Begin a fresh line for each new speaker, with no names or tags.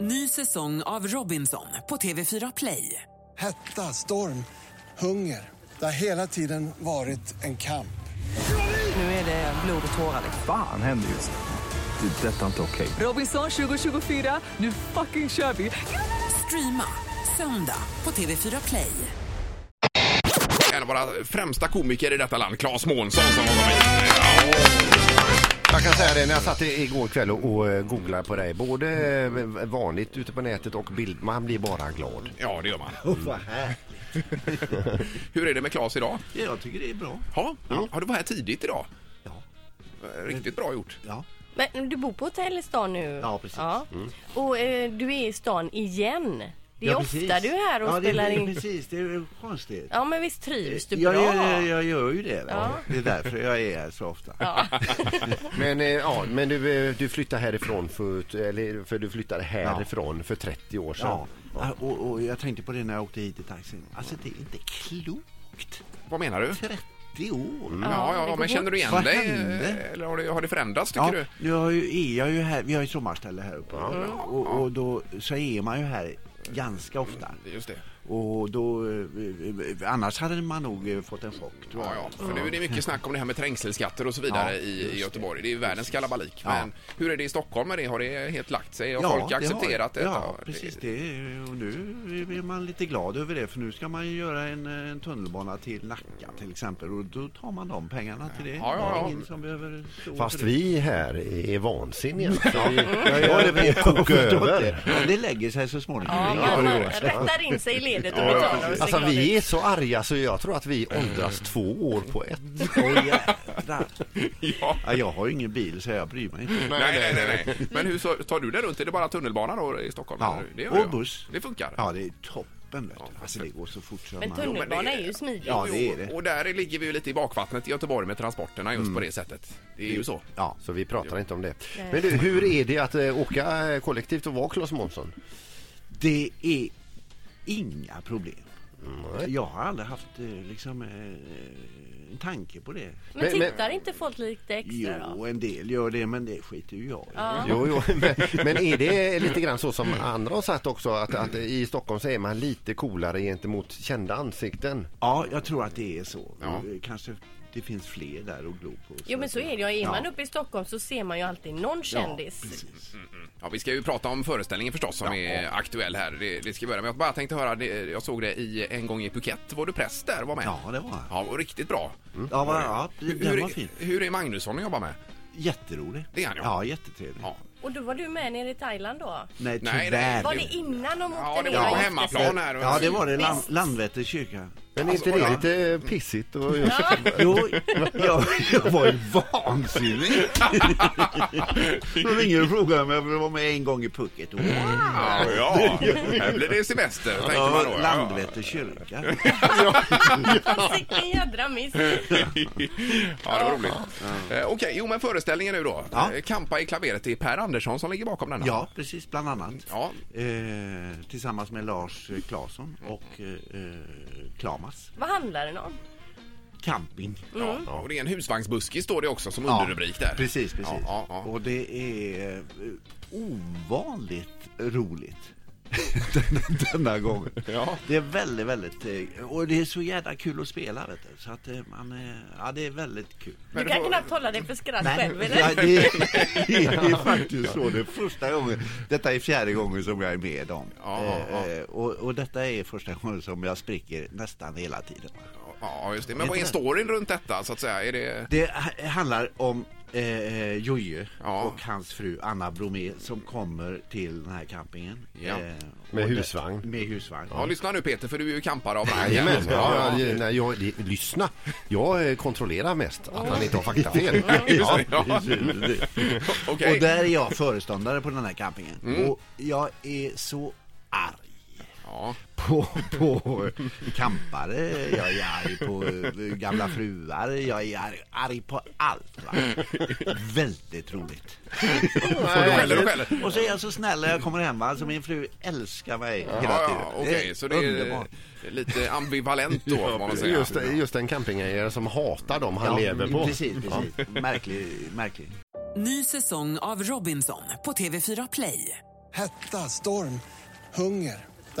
Ny säsong av Robinson på TV4 Play.
Hetta, storm, hunger. Det har hela tiden varit en kamp.
Nu är det blod och tårar. liksom.
Fan händer just nu. Det. är Detta är inte okej.
Robinson 2024, nu fucking kör vi! Streama söndag på TV4 Play.
En av våra främsta komiker i detta land, Claes Månsson, som har kommit hit.
Jag kan säga det, när jag satt i- igår kväll och, och eh, googlade på dig, både eh, vanligt ute på nätet och bild, man blir bara glad.
Ja, det gör man.
Oh.
Hur är det med Claes idag?
Ja, jag tycker det är bra.
Ja, ja, du var här tidigt idag.
Ja.
Eh, Riktigt bra gjort.
Ja.
Men du bor på hotell i stan nu?
Ja, precis. Mm.
Och eh, du är i stan igen. Det är
ja,
ofta
precis.
du är här och
ja,
spelar
det, är-
in.
precis. Det är ju konstigt.
Ja, men visst trivs du
jag,
bra?
jag, jag gör ju det. va?
Ja.
Det är därför jag är här så ofta.
Ja.
Men, eh, ja, men du, eh, du flyttade härifrån för, eller, för du flyttade härifrån för 30 år sedan.
Ja. Och, och jag tänkte på det när jag åkte hit i taxin. Alltså, det är inte klokt.
Vad menar du?
30 år.
Ja, ja,
det går
men känner du igen
Vad
dig?
hände?
Eh, Eller har det, har det förändrats, tycker
Ja,
du?
nu har ju, är jag ju här, vi har ju sommarställe här uppe och, och då så är man ju här ganska ofta.
Just det.
Och då, eh, eh, annars hade man nog eh, fått en chock tror
Ja,
jag.
ja. För nu är det mycket snack om det här med trängselskatter och så vidare
Ja,
i
just
i
det.
Göteborg. Det är ju världens kalabalik.
Ja.
Men hur är det i Stockholm? med det? Har det helt lagt sig? Har
Ja,
folk
det har-
accepterat det?
Ja, precis. Det, är- och nu är man lite glad över det för nu ska man ju göra en, en tunnelbana till Nacka till exempel och då tar man de pengarna till det.
Ja, ja, ja.
Ingen som behöver stå
Fast
för det.
vi här är vansinniga. Ja. Vi, vi håller på att koka över.
Men det lägger sig så småningom.
Ja,
Det är
man,
inga
man
problem.
rättar in sig i ledet och betalar och ser
Alltså
glad
vi är
ut.
så arga så jag tror att vi åldras två år på ett.
Åh, jädrar.
Ja.
ja, jag har ju ingen bil så jag bryr mig inte.
Nej, nej, nej, nej. Men hur så, tar du det runt? Är det bara tunnelbana då i Stockholm?
Ja,
eller? det gör
och
jag.
buss.
Det funkar?
Ja, det är toppen vet du. Alltså det går så fort som
Men
man-
Jo, men
tunnelbana
det-
är ju smidigt.
Ja, det är det. Mm.
Och, och där ligger vi ju lite i bakvattnet i Göteborg med transporterna just på det sättet. Det är ju så.
Ja.
Så vi pratar inte om det. Men du, hur är det att eh, åka eh, kollektivt och vara Claes Månsson?
Det är inga problem. Jag har aldrig haft eh, liksom, eh, en tanke på det.
Men
Men- men-
tittar inte folk lite extra då?
Jo, en del gör det, men det skiter ju jag i.
Jo, jo, men, men är det lite grann så som andra har sagt också att, att i Stockholm så är man lite coolare gentemot kända ansikten?
Ja, jag tror att det är så. Eh,
Ja.
Kanske det finns fler där att glo på.
Jo, men så är det ju. Är man
Ja.
uppe i Stockholm så ser man ju alltid någon kändis.
Ja, vi ska ju prata om föreställningen förstås som är aktuell här. Det, det ska vi börja med. Jag bara tänkte höra, det, jag såg det i En gång i Phuket. Var du präst där? Var med?
Ja, det var han.
Ja, och riktigt bra.
Ja, va, ja det- den var fin.
hur, hur är Magnusson att jobba med?
Jätterolig.
Det är han, ja.
ja. jättetrevlig.
Ja.
Och då var du med nere i Thailand då?
Nej,
Nej, nej.
tyvärr.
Var
det-
det innan de åkte
Ja, det
ner
var på
och gifte sig?
hemmaplan här.
Ja, det var det. Land,
Visst.
Landvetter kyrka.
Men är
Alltså,
inte det lite pissigt? Och just,
Jo, jag, jag var ju vansinnig. Då ringer och frågar om jag vill vara med en gång i Pucket.
Mm.
Och,
Ja, ja. här blir det semester, tänker man då.
ja,
Ja.
Landvetter kyrka.
Fast Vilken jädra miss.
Ja, det var roligt. Eh, Okej, jo men föreställningen nu då.
Ja.
Eh, Kampa i klaveret, det är Per Andersson som ligger bakom denna.
Ja, precis, bland annat.
Ja,
Eh, tillsammans med Lars eh, Claesson och eh, eh, Klamas.
Vad handlar den om?
Camping.
ja. Och det är en husvagnsbuskis står det också som underrubrik där.
Precis, precis.
Ja, ja, ja.
Och det är eh, ovanligt roligt. denna, denna gång.
Ja.
Det är väldigt, väldigt... eh, Och det är så jävla kul att spela, vet du. Så att eh, man... eh, Ja, det är väldigt kul.
Du kan knappt hålla dig för skratt själv eller?
Ja, det, är, det är faktiskt så. Det är första gången. Detta är fjärde gången som jag är med om.
Ja, ja, ja.
Eh, eh, Och, och detta är första gången som jag spricker nästan hela tiden.
Ja, just det. Men vad är storyn runt detta så att säga? Är det...
Det h- handlar om eh, Jojje
Ja.
och hans fru Anna Bromé som kommer till den här campingen. Eh,
Ja.
och
Med
det-
husvagn.
Med husvagn.
Ja, lyssna nu Peter, för du är ju kampare av rang.
Jajamän,
Ja,
ja, ja, nej, jag, det- lyssna. Jag eh, kontrollerar mest att han inte har faktafel.
ja.
Ja.
ja. Okej. Mm.
Och där är jag föreståndare på den här campingen. Och jag är så arg.
Ja.
på, på kampare, jag är arg på eh, gamla fruar, jag är arg, arg på allt. Va? Väldigt roligt.
skäller och skäller.
Och så är jag så snäll när jag kommer hem, va? alltså min fru älskar mig hela
Ja,
tiden.
ja, okej, så det är
underbart.
lite ambivalent då, får man säga.
Just, just en campingägare som hatar dem han
Ja,
lever på.
Precis, precis. Märklig, märklig.
Ny säsong av Robinson på TV4 Play.
Hetta, storm, hunger. Det